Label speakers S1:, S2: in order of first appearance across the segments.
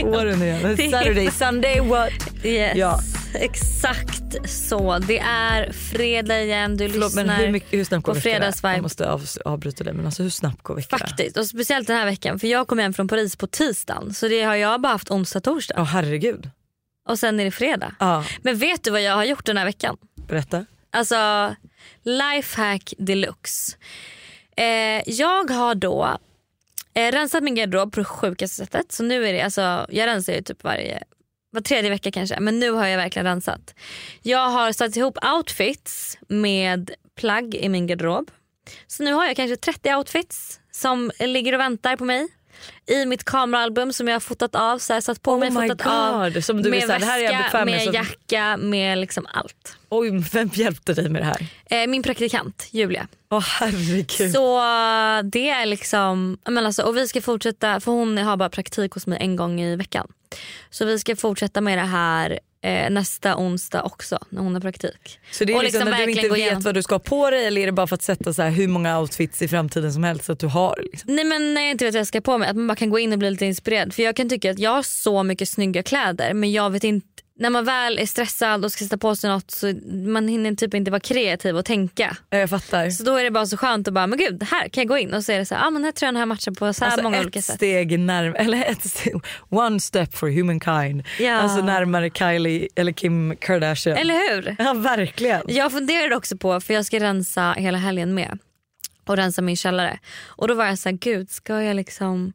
S1: Vad den är. Saturday, Sunday, what?
S2: Yes,
S1: Ja.
S2: exakt så. Det är fredag igen, du
S1: Förlåt,
S2: lyssnar
S1: men hur, mycket, hur snabbt går
S2: på
S1: veckorna? Jag
S2: fredagsvibe.
S1: måste av, avbryta dig, men alltså hur snabbt går veckorna?
S2: Faktiskt, och speciellt den här veckan för jag kom hem från Paris på tisdagen så det har jag bara haft onsdag, torsdag
S1: Ja, herregud.
S2: och sen är det fredag.
S1: Ja,
S2: Men vet du vad jag har gjort den här veckan?
S1: berätta.
S2: Alltså lifehack deluxe. Eh, jag har då eh, rensat min garderob på det sjukaste sättet. Så nu är det, alltså, jag rensar ju typ varje, var tredje vecka kanske. Men nu har jag verkligen rensat. Jag har satt ihop outfits med plagg i min garderob. Så nu har jag kanske 30 outfits som ligger och väntar på mig. I mitt kameraalbum som jag har fotat av. Så här, satt på mig,
S1: Oh my
S2: fotat av.
S1: God, som du
S2: med
S1: vill säga, det här är jag
S2: väska,
S1: bekväm med,
S2: med
S1: så-
S2: jacka, med liksom allt.
S1: Oj, vem hjälpte dig med det här?
S2: Eh, min praktikant Julia.
S1: Åh herregud.
S2: Så eh, det är liksom, ja, men alltså, och vi ska fortsätta, för hon har bara praktik hos mig en gång i veckan. Så vi ska fortsätta med det här eh, nästa onsdag också när hon har praktik.
S1: Så det är
S2: och
S1: liksom, när du
S2: verkligen
S1: inte
S2: gå
S1: vet
S2: igenom.
S1: vad du ska ha på dig eller är det bara för att sätta så här, hur många outfits i framtiden som helst att du har? Liksom?
S2: Nej men när jag inte vet vad jag ska på mig, att man bara kan gå in och bli lite inspirerad. För jag kan tycka att jag har så mycket snygga kläder men jag vet inte, när man väl är stressad och ska sätta på sig något så man hinner typ inte vara kreativ och tänka.
S1: Ja, Jag fattar.
S2: Så då är det bara så skönt att bara, men gud här kan jag gå in och så är det så här, ah, men den här tröjan har jag matchat på så här
S1: Alltså
S2: många
S1: ett
S2: olika sätt.
S1: steg närmare, eller ett steg, one step for humankind.
S2: Ja.
S1: Alltså närmare Kylie eller Kim Kardashian.
S2: Eller hur?
S1: Ja verkligen.
S2: Jag funderade också på, för jag ska rensa hela helgen med och rensa min källare. Och då var jag så här, gud ska jag liksom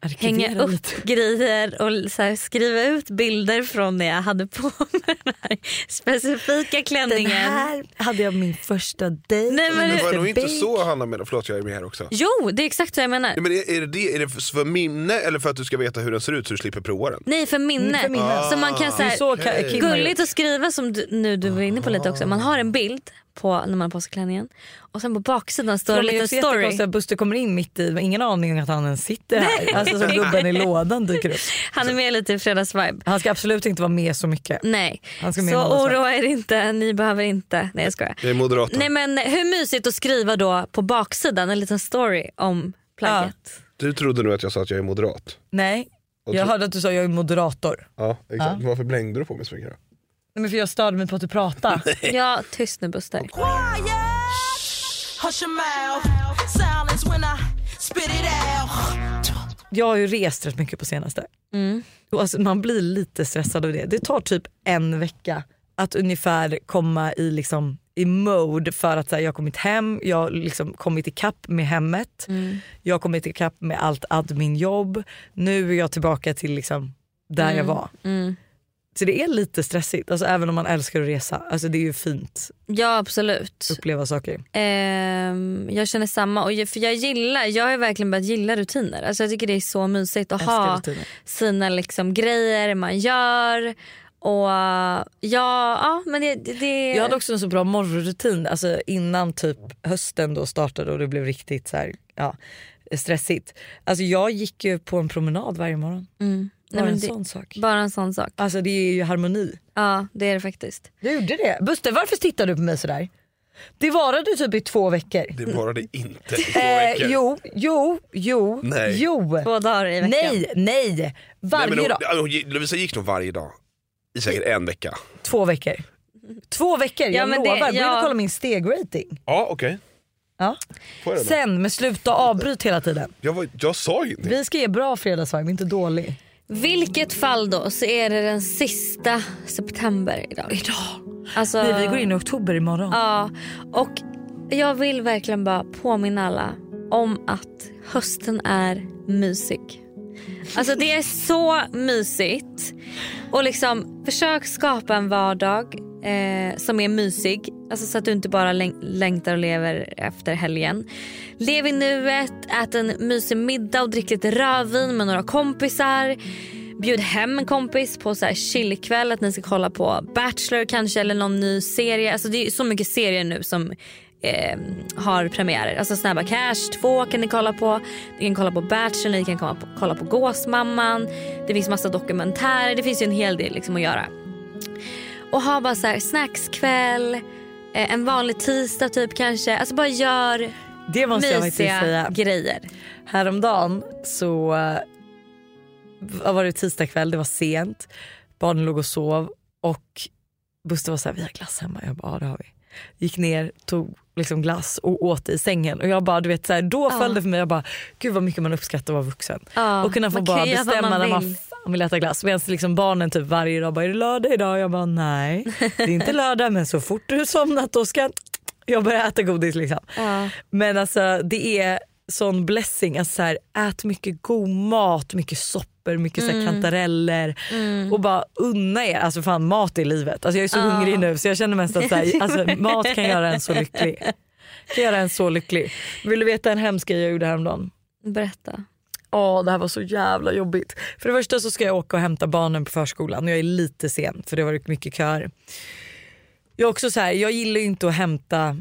S1: Arkivera
S2: hänga upp
S1: lite.
S2: grejer och så här, skriva ut bilder från när jag hade på mig den här specifika
S1: Den
S2: klänningen.
S1: här hade jag min första
S2: Nej,
S1: dejt.
S2: men
S3: Men det var
S2: det,
S3: nog inte
S1: Bake.
S3: så Hanna menade, förlåt jag är med här också.
S2: jo, det är exakt vad jag menar.
S3: Nej, men är, är, det det, är det för minne eller för att du ska veta hur den ser ut så du slipper prova den?
S2: Nej, för minne.
S1: Mm, för minne. Ah,
S2: Så man kan så
S1: Det är
S2: här,
S1: så Ka- Kim har gjort.
S2: Gulligt att skriva som du, nu du var inne på lite också. Man har en bild på när man har på sig klänningen och sen på baksidan står
S1: Det
S2: en
S1: är
S2: liten
S1: också jättekonstigt
S2: story.
S1: att Buster kommer in mitt i, men ingen aning om att han ens sitter här. Alltså som gubben i lådan dyker upp.
S2: Han är med lite i fredagsvibe.
S1: Han ska absolut inte vara med så mycket.
S2: Nej,
S1: Han ska med i
S2: så
S1: måndagsvakt.
S2: oroa er inte. Ni behöver inte. Nej jag skojar.
S3: Det är moderatorn.
S2: Nej men hur mysigt att skriva då på baksidan en liten story om plagget.
S3: Du trodde nog att jag sa att jag är moderat.
S1: Nej,
S3: Och
S1: jag
S3: tro-
S1: hörde att du sa jag är moderator.
S3: Ja, exakt. Varför blängde du på mig så mycket då?
S1: Nej, men för jag störde mig på att du pratade.
S2: Ja, tyst nu Buster.
S4: Hush your mouth. Silence when I spit it out.
S1: jag har ju rest rätt mycket på senaste. Och alltså, man blir lite stressad av det. Det tar typ en vecka att ungefär komma i, liksom, i mode för att så här, jag har kommit hem, jag har liksom kommit ikapp med hemmet, jag har kommit ikapp med allt adminjobb. Nu är jag tillbaka till liksom, där jag var. Så det är lite stressigt, alltså, även om man älskar att resa. Alltså, det är ju fint
S2: Ja absolut.
S1: att uppleva saker.
S2: Ehm, jag känner samma. Och jag, för jag, gillar, jag har verkligen börjat gilla rutiner. Alltså jag tycker det är så mysigt att
S1: Älskar
S2: ha
S1: rutiner.
S2: sina liksom, grejer man gör. Och ja, ja men det... det, det...
S1: Jag hade också en så bra morgonrutin alltså innan typ hösten då startade och det blev riktigt så här, ja, stressigt. Alltså jag gick ju på en promenad varje morgon. Bara
S2: Nej, men
S1: en
S2: det-
S1: sån sak.
S2: Bara en sån sak.
S1: Alltså det är ju harmoni.
S2: Ja det är det faktiskt.
S1: Jag gjorde det. Buster varför tittar du på mig sådär? Det varade typ i två veckor.
S3: Det var det inte i två
S1: Eh,
S3: veckor.
S1: jo, jo, jo,
S3: Nej.
S1: jo.
S2: Två dagar i veckan.
S1: Nej, nej.
S3: Nej,
S1: Varje
S3: men hon,
S1: dag.
S3: ja, hon, Lovisa gick nog varje dag i säkert en vecka.
S1: Två veckor. Två veckor, jag
S2: men det-
S1: lovar. Gå in
S2: ja.
S1: och kolla min stegrating.
S3: Ja okej.
S1: Ja.
S3: Får jag den då?
S1: Sen, men sluta avbryt hela tiden.
S3: Jag, var, jag sa ju inte.
S1: Vi ska ge bra fredagsvibe, inte dålig.
S2: Vilket fall då så är det den sista september idag. Idag? Alltså,
S1: Nej, vi går in i oktober imorgon.
S2: Ja, och jag vill verkligen bara påminna alla om att hösten är mysig. Alltså det är så mysigt. Och liksom försök skapa en vardag eh, som är mysig. Alltså så att du inte bara läng- längtar och lever efter helgen. Lev i nuet, ät en mysig middag och drick lite rödvin med några kompisar. Bjud hem en kompis på så här chillkväll, att ni ska kolla på Bachelor kanske eller någon ny serie. Alltså det är så mycket serier nu som eh, har premiärer. Alltså Snabba Cash 2 kan ni kolla på. Ni kan kolla på Bachelor, ni kan kolla på, kolla på Gåsmamman. Det finns massa dokumentärer. Det finns ju en hel del liksom att göra. Och ha bara så här snackskväll, eh, en vanlig tisdag typ kanske. Alltså bara gör
S1: Det måste jag faktiskt
S2: mysiga
S1: säga.
S2: grejer.
S1: Häromdagen så eh, vad var det tisdag kväll, det var sent. Barnen låg och sov och Buster var så här, vi har glass hemma. Jag bara, ja det har vi. Gick ner, tog liksom glass och åt i sängen. Och jag bara, du vet, så här, då
S2: Ja.
S1: föll det för mig, jag bara, gud vad mycket man uppskattar att vara vuxen.
S2: Ja,
S1: och kunna få
S2: man
S1: bara
S2: kan göra vad
S1: bestämma
S2: man
S1: när man
S2: vill.
S1: fan vill äta glass. Medan liksom barnen typ varje dag bara, är det lördag idag? Jag bara, nej det är inte lördag men så fort du somnat då ska jag börja äta godis liksom.
S2: Ja.
S1: Men alltså det är sån blessing. Alltså, så här, ät mycket god mat, mycket soppor, mycket
S2: Mm.
S1: så här, kantareller och bara unna er. Alltså fan mat är livet. Alltså, jag är så hungrig nu så jag känner mest att så här, alltså, mat kan göra en så lycklig. Kan göra en så lycklig. Vill du veta en hemsk grej jag gjorde häromdagen?
S2: Berätta.
S1: Åh, det här var så jävla jobbigt. För det första så ska jag åka och hämta barnen på förskolan och jag är lite sen för det har varit mycket köer. Jag är också så här, jag gillar ju inte att hämta,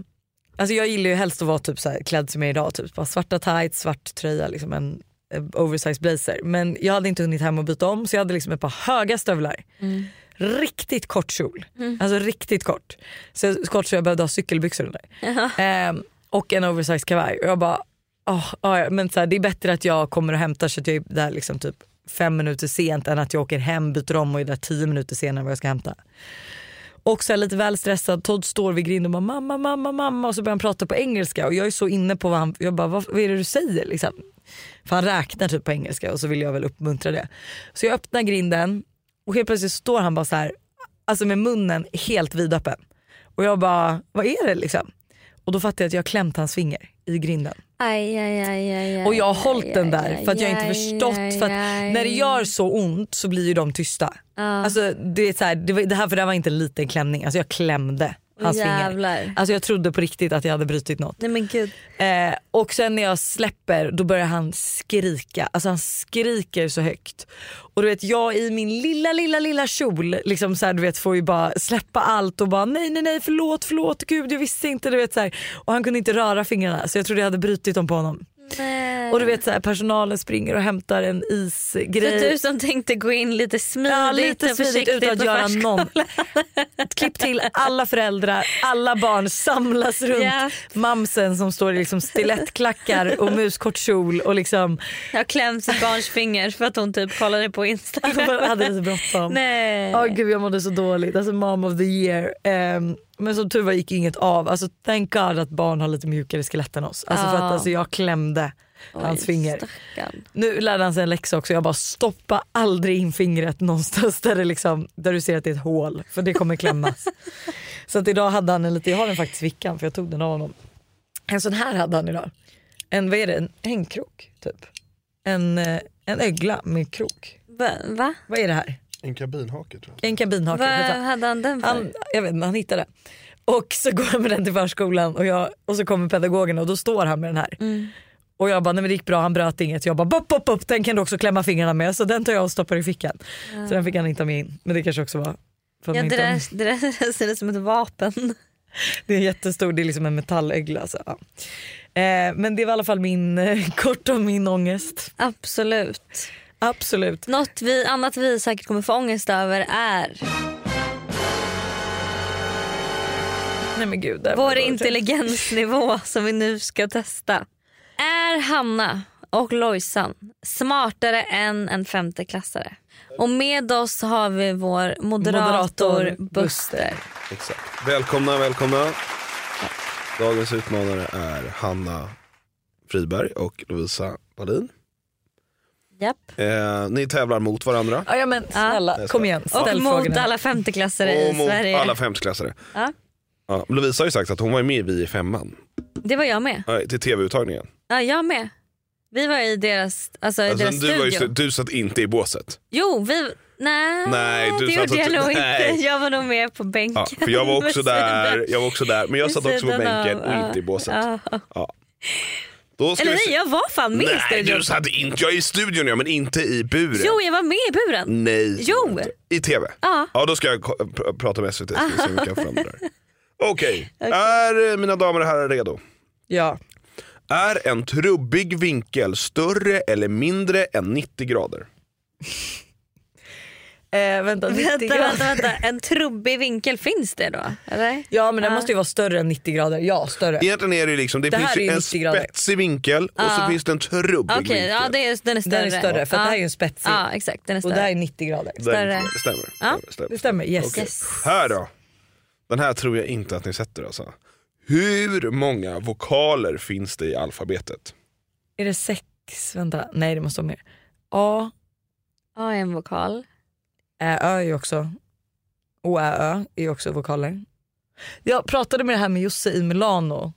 S1: alltså jag gillar ju helst att vara typ så här, klädd som jag är idag, typ bara svarta tights, svart tröja, liksom en eh, oversized blazer. Men jag hade inte hunnit hem och byta om så jag hade liksom ett par höga stövlar. Riktigt kort kjol, alltså riktigt kort. Så kort så jag behövde ha cykelbyxor under. Ehm, och en oversized kavaj och jag bara Oh, men så här, det är bättre att jag kommer och hämtar så att jag är där liksom typ fem minuter sent än att jag åker hem, byter om och är där tio minuter senare än vad jag ska hämta. Och så här, lite väl stressad, Todd står vid grinden och bara mamma, mamma, mamma och så börjar han prata på engelska och jag är så inne på vad han, jag bara vad, vad är det du säger liksom? För han räknar typ på engelska och så vill jag väl uppmuntra det. Så jag öppnar grinden och helt plötsligt står han bara så här, alltså med munnen helt vidöppen. Och jag bara, vad är det liksom? Och då fattar jag att jag har klämt hans finger i grinden.
S2: Aj, aj, aj, aj, aj,
S1: Och jag har hållit
S2: aj,
S1: den
S2: aj,
S1: där
S2: aj,
S1: för att jag inte
S2: aj,
S1: förstått.
S2: aj,
S1: För att
S2: aj.
S1: när det gör så ont så blir ju de tysta. Alltså, det, är så här, det, var, det här för det här var inte en liten klämning, alltså jag klämde hans
S2: Jävlar.
S1: finger. Alltså jag trodde på riktigt att jag hade brutit något.
S2: Nej men gud.
S1: Eh, och sen när jag släpper då börjar han skrika. Alltså han skriker så högt. Och du vet jag i min lilla lilla lilla kjol liksom så här, du vet, får ju bara släppa allt och bara nej nej nej förlåt förlåt gud jag visste inte. Du vet, så här. Och han kunde inte röra fingrarna så jag trodde jag hade brutit dem på honom.
S2: Mm.
S1: Och du vet så här, personalen springer och hämtar en
S2: Så du
S1: isgrej.
S2: som tänkte gå in lite smidigt
S1: Ja, lite
S2: och
S1: smidigt
S2: försiktigt
S1: utan att
S2: på
S1: göra
S2: färskolan.
S1: någon. Klipp till alla föräldrar, alla barn samlas runt
S2: Ja.
S1: mamsen som står i liksom stilettklackar och muskort kjol och liksom
S2: Jag har klämt sitt barns finger för att hon typ kollade på Instagram.
S1: Hon hade lite bråttom.
S2: Nej.
S1: Åh gud jag mådde så dåligt, alltså mom of the year. Ehm, men som tur var gick inget av. Alltså thank god att barn har lite mjukare skelett än oss. Alltså för
S2: Ja.
S1: att alltså, jag klämde hans finger.
S2: Stackarn.
S1: Nu lärde han sig en läxa också. Jag bara stoppa aldrig in fingret någonstans där, det liksom, där du ser att det är ett hål. För det kommer klämmas. så att idag hade han en lite, jag har den faktiskt i fickan för jag tog den av honom. En sån här hade han idag. En, vad är det, en hängkrok typ. En, eh, en ögla med krok.
S2: Va? Va?
S1: Vad är det här?
S3: En kabinhake tror jag.
S1: En kabinhake.
S2: Vad
S1: vet du.
S2: hade han den för?
S1: Han, jag vet inte, han hittade det. Och så går han med den till förskolan och, jag, och så kommer pedagogen och då står han med den här.
S2: Mm.
S1: Och jag bara, nej men det gick bra, han bröt inget. Jag bara, bop, bop, bop, den kan du också klämma fingrarna med. Så den tar jag och stoppar i fickan. Så den fick han inte ha med in. Men det kanske också var för att
S2: ja,
S1: man
S2: det,
S1: inte-
S2: där, det där ser ut som ett vapen.
S1: det är jättestor, det är liksom en metallögla. Alltså. Ja. Eh, men det var i alla fall min, eh, kort om min ångest.
S2: Absolut.
S1: Absolut.
S2: Något vi, annat vi säkert kommer få ångest över är
S1: Nej men gud. det här var
S2: vår
S1: dåligt.
S2: intelligensnivå som vi nu ska testa. Är Hanna och Lojsan smartare än en femteklassare? Och med oss har vi vår moderator
S1: Moderator
S2: Buster.
S3: Exakt. Välkomna, välkomna. Dagens utmanare är Hanna Friberg och Lovisa Wallin.
S2: Japp.
S3: Eh, ni tävlar mot varandra.
S1: Ja, ja men snälla,
S3: Ja.
S1: kom igen. Ställ
S2: Och mot
S1: frågorna.
S2: alla femteklassare i
S3: Och mot
S2: Sverige.
S3: alla femteklassare.
S2: Ja.
S3: Ja, Lovisa har ju sagt att hon var med i Vi i femman.
S2: Det var jag med.
S3: Nej, till tv-uttagningen.
S2: Ja, jag med. Vi var i deras, alltså, i
S3: Alltså,
S2: deras
S3: du, var ju,
S2: studio.
S3: så- du satt inte i båset.
S2: Jo, vi... Nej,
S3: Nej, du
S2: det
S3: satt
S2: gjorde jag
S3: också-
S2: nog inte.
S3: nej.
S2: Jag var nog med på bänken.
S3: Ja, för jag var också
S2: Vid sidan-
S3: där, jag var också där, men jag
S2: vid
S3: satt också på
S2: sidan av,
S3: bänken och
S2: ja.
S3: inte i båset.
S2: Ja.
S3: Ja. Då ska
S2: Eller
S3: vi se-
S2: nej, jag var fan med i
S3: Nej,
S2: studion.
S3: du satt inte. Jag är i studion ja, men inte i buren.
S2: Jo, jag var med i buren.
S3: Nej.
S2: Jo.
S3: I tv?
S2: Ja.
S3: Ja, då ska jag ko- pr- prata med SVT så vi ser om vi kan få fram det där. Okej, är eh, mina damer och herrar redo?
S1: Ja.
S3: Är en trubbig vinkel större eller mindre än 90 grader?
S1: Eh, vänta, 90
S2: Vänta,
S1: grader.
S2: vänta, vänta. En trubbig vinkel, finns det då? Eller?
S1: Ja men den
S2: Ja.
S1: måste ju vara större än 90 grader. Ja större.
S3: Egentligen är det liksom, det,
S1: Det här
S3: finns
S1: är
S3: ju
S1: ju 90
S3: en
S1: grader.
S3: spetsig vinkel och så finns det en trubbig
S2: Okej,
S3: vinkel.
S2: ja, det är, den är större.
S1: Den är större för att det här är ju en spetsig.
S2: Ja, exakt. Den är
S1: och
S2: större.
S1: det här är 90 grader.
S3: Den-
S2: större.
S3: Det stämmer.
S2: Ja.
S3: Det stämmer.
S1: Det stämmer, yes.
S2: Yes.
S3: Här då. Den här tror jag inte att ni sätter alltså. Hur många vokaler finns det i alfabetet?
S1: Är det sex? Vänta, nej det måste vara mer. A,
S2: A är en vokal.
S1: Ä, Ö är ju också... O, Ä, Ö är ju också vokaler. Jag pratade med det här med Josse i Milano.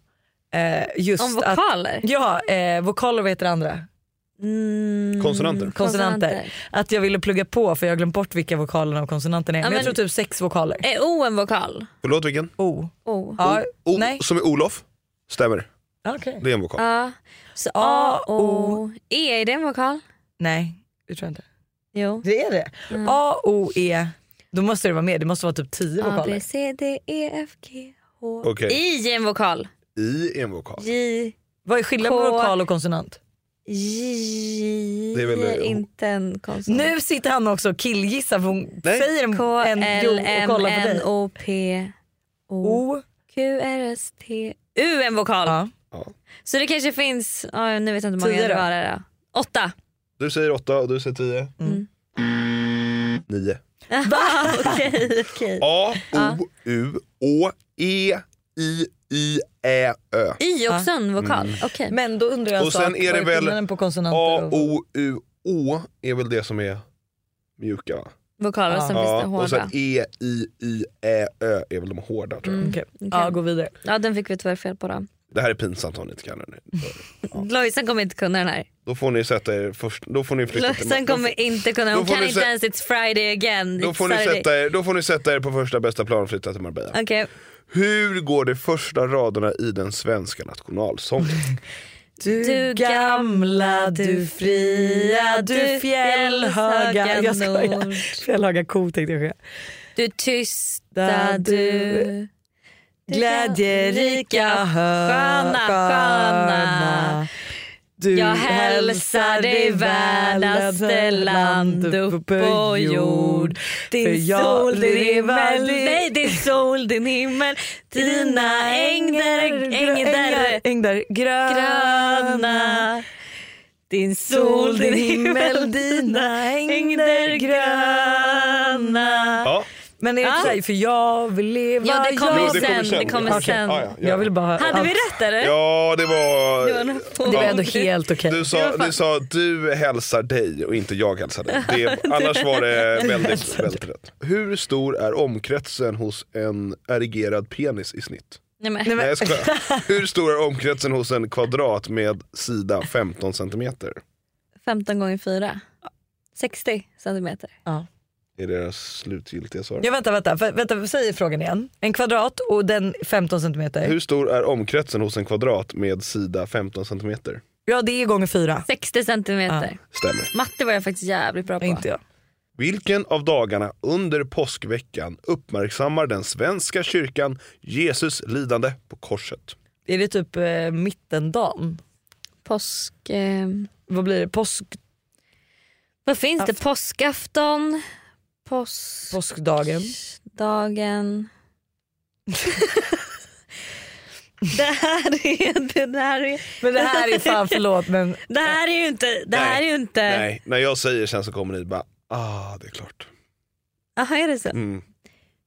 S1: Eh, just
S2: Om
S1: att,
S2: vokaler?
S1: ja, eh, vokaler vad heter det andra?
S2: Mm,
S3: Konsonanter.
S1: Konsonanter. Att jag ville plugga på för jag har glömt bort vilka vokalerna och konsonanterna är.
S2: Ja,
S1: men,
S2: men- Eh,
S1: jag tror typ sex vokaler.
S2: Är O en vokal?
S3: Förlåt vilken?
S1: O.
S2: O.
S1: Ja,
S3: O,
S1: nej.
S3: Som är Olof. Stämmer,
S1: Okej.
S3: det är en vokal.
S2: Ja. Så
S1: A,
S2: A,
S1: O.
S2: O, E, är det en vokal?
S1: Nej, det tror jag inte.
S2: Jo.
S1: Det är det?
S2: Mm.
S1: A, O, E. Då måste det vara mer, det måste vara typ tio
S2: A,
S1: vokaler.
S2: B, C, D, E, F, G, H.
S3: Okej.
S2: I är en vokal.
S3: I är en vokal.
S2: J,
S1: Vad är skillnaden på
S2: K.
S1: vokal och konsonant?
S2: J,
S3: Det är väl- eh,
S2: inte en konsonant.
S1: Nu sitter han också och killgissar för hon
S3: Nej.
S1: säger en,
S2: K,
S1: en jo
S2: L,
S1: och
S2: M,
S1: kollar på
S2: N,
S1: dig.
S2: O, P, O,
S1: O.
S2: Q, R, S, T, U är en vokal.
S1: Ja.
S2: Så det kanske finns, ja, nu vet jag inte hur många
S1: Tio
S2: det
S1: då?
S2: var. Där. Åtta.
S3: Du säger åtta och du säger tio. Nio.
S2: Okej, okej.
S3: A, O, U, Å, E, I, I, Ä, Ö.
S2: I också en vokal.
S3: Mm.
S2: Okej.
S1: Men då undrar jag
S3: Och
S1: alltså,
S3: sen
S1: att
S3: är
S1: vad
S3: det väl
S1: skillnaden på konsonanter
S3: A,
S1: och...
S3: O, U, Å är väl det som är mjuka va?
S2: Vokaler, sen finns det
S3: Ja, och
S2: hårda.
S3: sen E, I, I, Ä, Ö är väl de hårda tror jag.
S2: Mm.
S1: Okej. Ja, gå vidare.
S2: Ja, den fick vi tyvärr fel på då.
S3: Det här är pinsamt om ni inte kan den.
S2: Lojsan kommer inte kunna den här.
S3: Då får ni sätta er först, då får ni flytta till-
S2: Lojsan kommer inte kunna,
S3: då
S2: hon
S3: får
S2: kan
S3: ni
S2: inte
S3: sä-
S2: ens It's Friday again.
S3: Då
S2: It's
S3: får, ni
S2: Saturday.
S3: sätta er, då får ni sätta er på första bästa plan och flytta till Marbella.
S2: Okej,
S3: Hur går de första raderna i den svenska nationalsången?
S2: Du gamla, du fria, du fjällhöga
S1: Jag skojar.
S2: nord.
S1: Fjällhöga ko tänkte jag säga.
S2: du tysta du.
S1: Glädjerika hö-
S2: Sköna, sköna.
S1: Du
S2: Jag hälsar dig värdaste land upp på jord.
S1: För
S2: Din
S1: jag
S2: sol, din
S1: lever
S2: himmel,
S1: ditt-
S2: nej din sol, din himmel. Dina ängder, ängder
S1: ängder gröna.
S2: gröna. Din sol, din himmel,
S1: dina
S2: ängder gröna.
S3: Ja,
S1: Men är det
S2: Ja.
S1: så här, för jag vill leva,
S2: Ja, det kommer
S3: Jo,
S1: jag
S3: det
S1: vill-
S3: kommer
S2: sen.
S3: sen.
S2: Det kommer
S3: Okej,
S2: sen.
S3: ja, ja, ja.
S1: Jag vill bara höra
S2: Hade vi
S1: allt.
S2: rätt eller?
S3: ja det var...
S2: var nog på.
S1: Det var
S3: Ja.
S1: ändå helt okej.
S3: Du sa, du sa du hälsar dig och inte jag hälsar dig. Det, annars var det väldigt, väldigt rätt. Hur stor är omkretsen hos en erigerad penis i snitt?
S2: Nej, men.
S3: Nej, jag skojar. Hur stor är omkretsen hos en kvadrat med sida 15 centimeter?
S2: 15 gånger 4. 60 centimeter.
S3: Det är deras slutgiltiga svar.
S1: Ja, vänta, vänta, För- vänta, säg frågan igen. En kvadrat och den 15 centimeter.
S3: Hur stor är omkretsen hos en kvadrat med sida 15 centimeter?
S1: Ja det är gånger fyra.
S2: 60 centimeter.
S3: Stämmer.
S2: Matte var jag faktiskt jävligt bra på.
S1: Inte jag.
S3: Vilken av dagarna under påskveckan uppmärksammar den svenska kyrkan Jesus lidande på korset?
S1: Är det typ eh, mittendagen?
S2: Påsk... Eh,
S1: Vad blir det? Påsk,
S2: vad finns det? Påskafton? Påsk...
S1: påskdagen?
S2: Dagen. det, här är, det, här är,
S1: Men det här är fan förlåt men
S2: det här är ju inte... Det här är ju
S1: Eh.
S2: inte...
S3: Nej, när jag säger sen så kommer ni bara ah det är klart.
S2: Aha, är det så?
S3: Mm.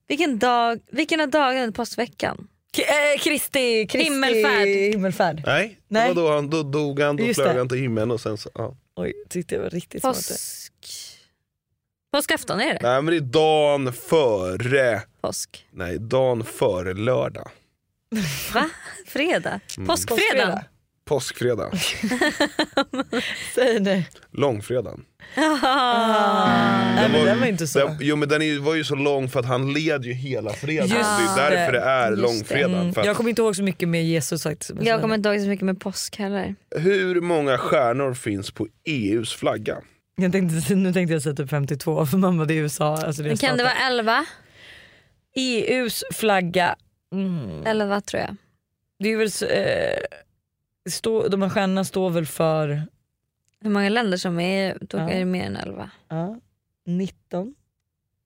S2: Vilken, dag, vilken av dagarna under påskveckan?
S1: K- eh, Kristi, Kristi
S2: Himmelfärd.
S1: himmelfärd.
S3: Nej,
S1: Nej.
S3: Det var då, han, då dog han, då
S1: Just
S3: flög
S1: det.
S3: han till himlen och sen så. Ja.
S1: Oj tyckte jag var riktigt smart.
S2: Påsk... Påskafton är det?
S3: Nej men det är dagen före,
S2: Påsk.
S3: nej dagen före lördag.
S1: Mm.
S2: Va? Fredag? Påskfredagen?
S3: Påskfredag.
S1: Säg nu.
S3: Långfredagen.
S2: Ah.
S1: Nej men den var inte så.
S3: Den, jo men den är, ju- var ju så lång för att han led ju hela fredagen.
S1: Just
S3: det är därför
S1: det.
S3: det är
S1: Just
S3: långfredagen.
S1: Mm,
S3: För
S1: Jag
S3: att,
S1: kommer inte ihåg så mycket med Jesus faktiskt. men
S2: Jag
S1: så-
S2: kommer inte ihåg så mycket med påsk heller.
S3: hur många stjärnor finns på EUs flagga?
S1: jag tänkte, nu tänkte jag säga typ 52 för mamma det är USA. Alltså det är
S2: Men kan det vara E
S1: stater.
S2: 11?
S1: EUs flagga? Mm.
S2: 11 tror jag.
S1: Det är väl, så- eh, stå, de här stjärnorna står väl för
S2: Hur många länder som är då
S1: Ja.
S2: är det mer än 11.
S1: ja, 19?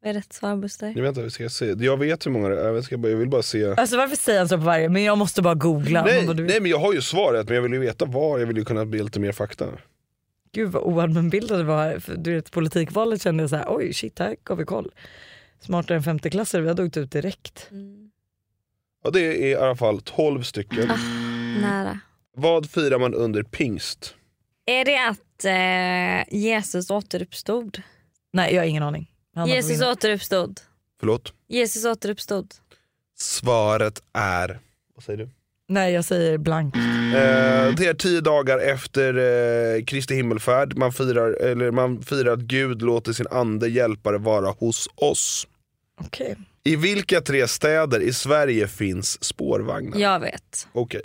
S2: Vad är rätt svar Buster?
S3: Jag vet inte, vi ska se. Jag vet hur många det är, jag, ska bara, jag vill bara se.
S1: Alltså varför säger han så på varje? Men jag måste bara googla.
S3: Nej,
S1: Man bara, du,
S3: nej men jag har ju svaret men jag vill ju veta var, jag vill ju kunna bli lite mer fakta.
S1: Gud vad oallmänbildad det var. här. För, du vet politikvalet kände jag så här, oj shit här gav vi koll. Smartare än femteklassare, vi hade åkt ut direkt.
S2: Mm.
S3: Ja, det är i alla fall 12 stycken.
S2: Mm. Nära.
S3: Vad firar man under pingst?
S2: Är det att eh, Jesus återuppstod?
S1: Nej jag har ingen aning. Han har
S2: Jesus
S1: försvunnit.
S2: återuppstod.
S3: Förlåt?
S2: Jesus återuppstod.
S3: Svaret är... Vad säger du?
S1: Nej jag säger blank.
S3: Eh, det är tio dagar efter eh, Kristi himmelfärd. Man firar, eller man firar att Gud låter sin ande hjälpare vara hos oss.
S1: Okej.
S3: I vilka tre städer i Sverige finns spårvagnar?
S2: Jag vet.
S3: Okej.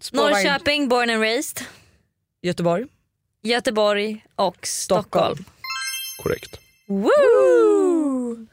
S1: Spårvagn.
S2: Norrköping, born and raised.
S1: Göteborg.
S2: Göteborg och Stockholm.
S3: Korrekt.
S2: Woo!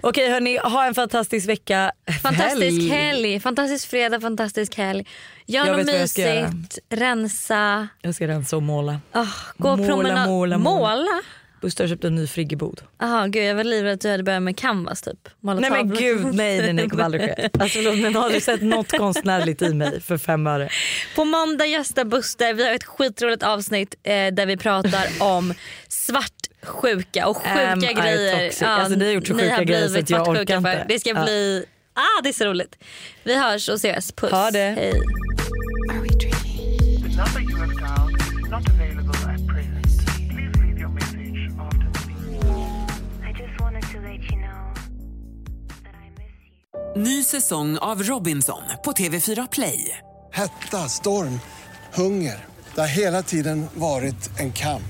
S1: Okej hörni, ha en fantastisk vecka.
S2: Fantastisk helg. fantastisk fredag, fantastisk helg. Gör
S1: Jag
S2: något
S1: vet vad jag ska göra.
S2: mysigt, rensa,
S1: Jag ska rensa och måla.
S2: ah, gå
S1: Måla,
S2: promenad.
S1: måla, måla.
S2: måla.
S1: Buster har köpt en ny friggebod.
S2: Aha, gud, jag var livrädd att du hade börjat med canvas typ. Måla
S1: Nej men
S2: tavlor.
S1: gud, nej nej nej det kommer aldrig ske. Alltså, förlåt, men har du sett något konstnärligt i mig för fem öre?
S2: På måndag gästar Buster. Vi har ett skitroligt avsnitt eh, där vi pratar om svartsjuka och sjuka
S1: Am I
S2: grejer.
S1: toxic? Alltså, ni har gjort så sjuka
S2: har
S1: grejer så
S2: blivit
S1: att jag
S2: svartsjuka
S1: orkar
S2: för.
S1: inte.
S2: Det ska
S1: Ja.
S2: bli... Ah, det är så roligt. Vi hörs och ses. Puss.
S1: Ha det.
S2: Hej.
S5: Are we dreaming?
S6: The number you have dialed is not available at present. Please leave your message after the beep.
S7: I just wanted to let you know that I miss you.
S8: Ny säsong av Robinson på TV4 Play.
S9: Hetta, storm, hunger. Det har hela tiden varit en kamp.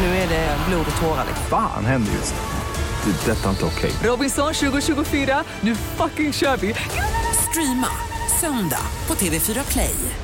S8: Nu är det blod och tårar. liksom.
S10: Fan händer just det. Det är detta inte okej.
S8: Robinson 2024, nu fucking kör vi! Streama söndag på TV4 Play.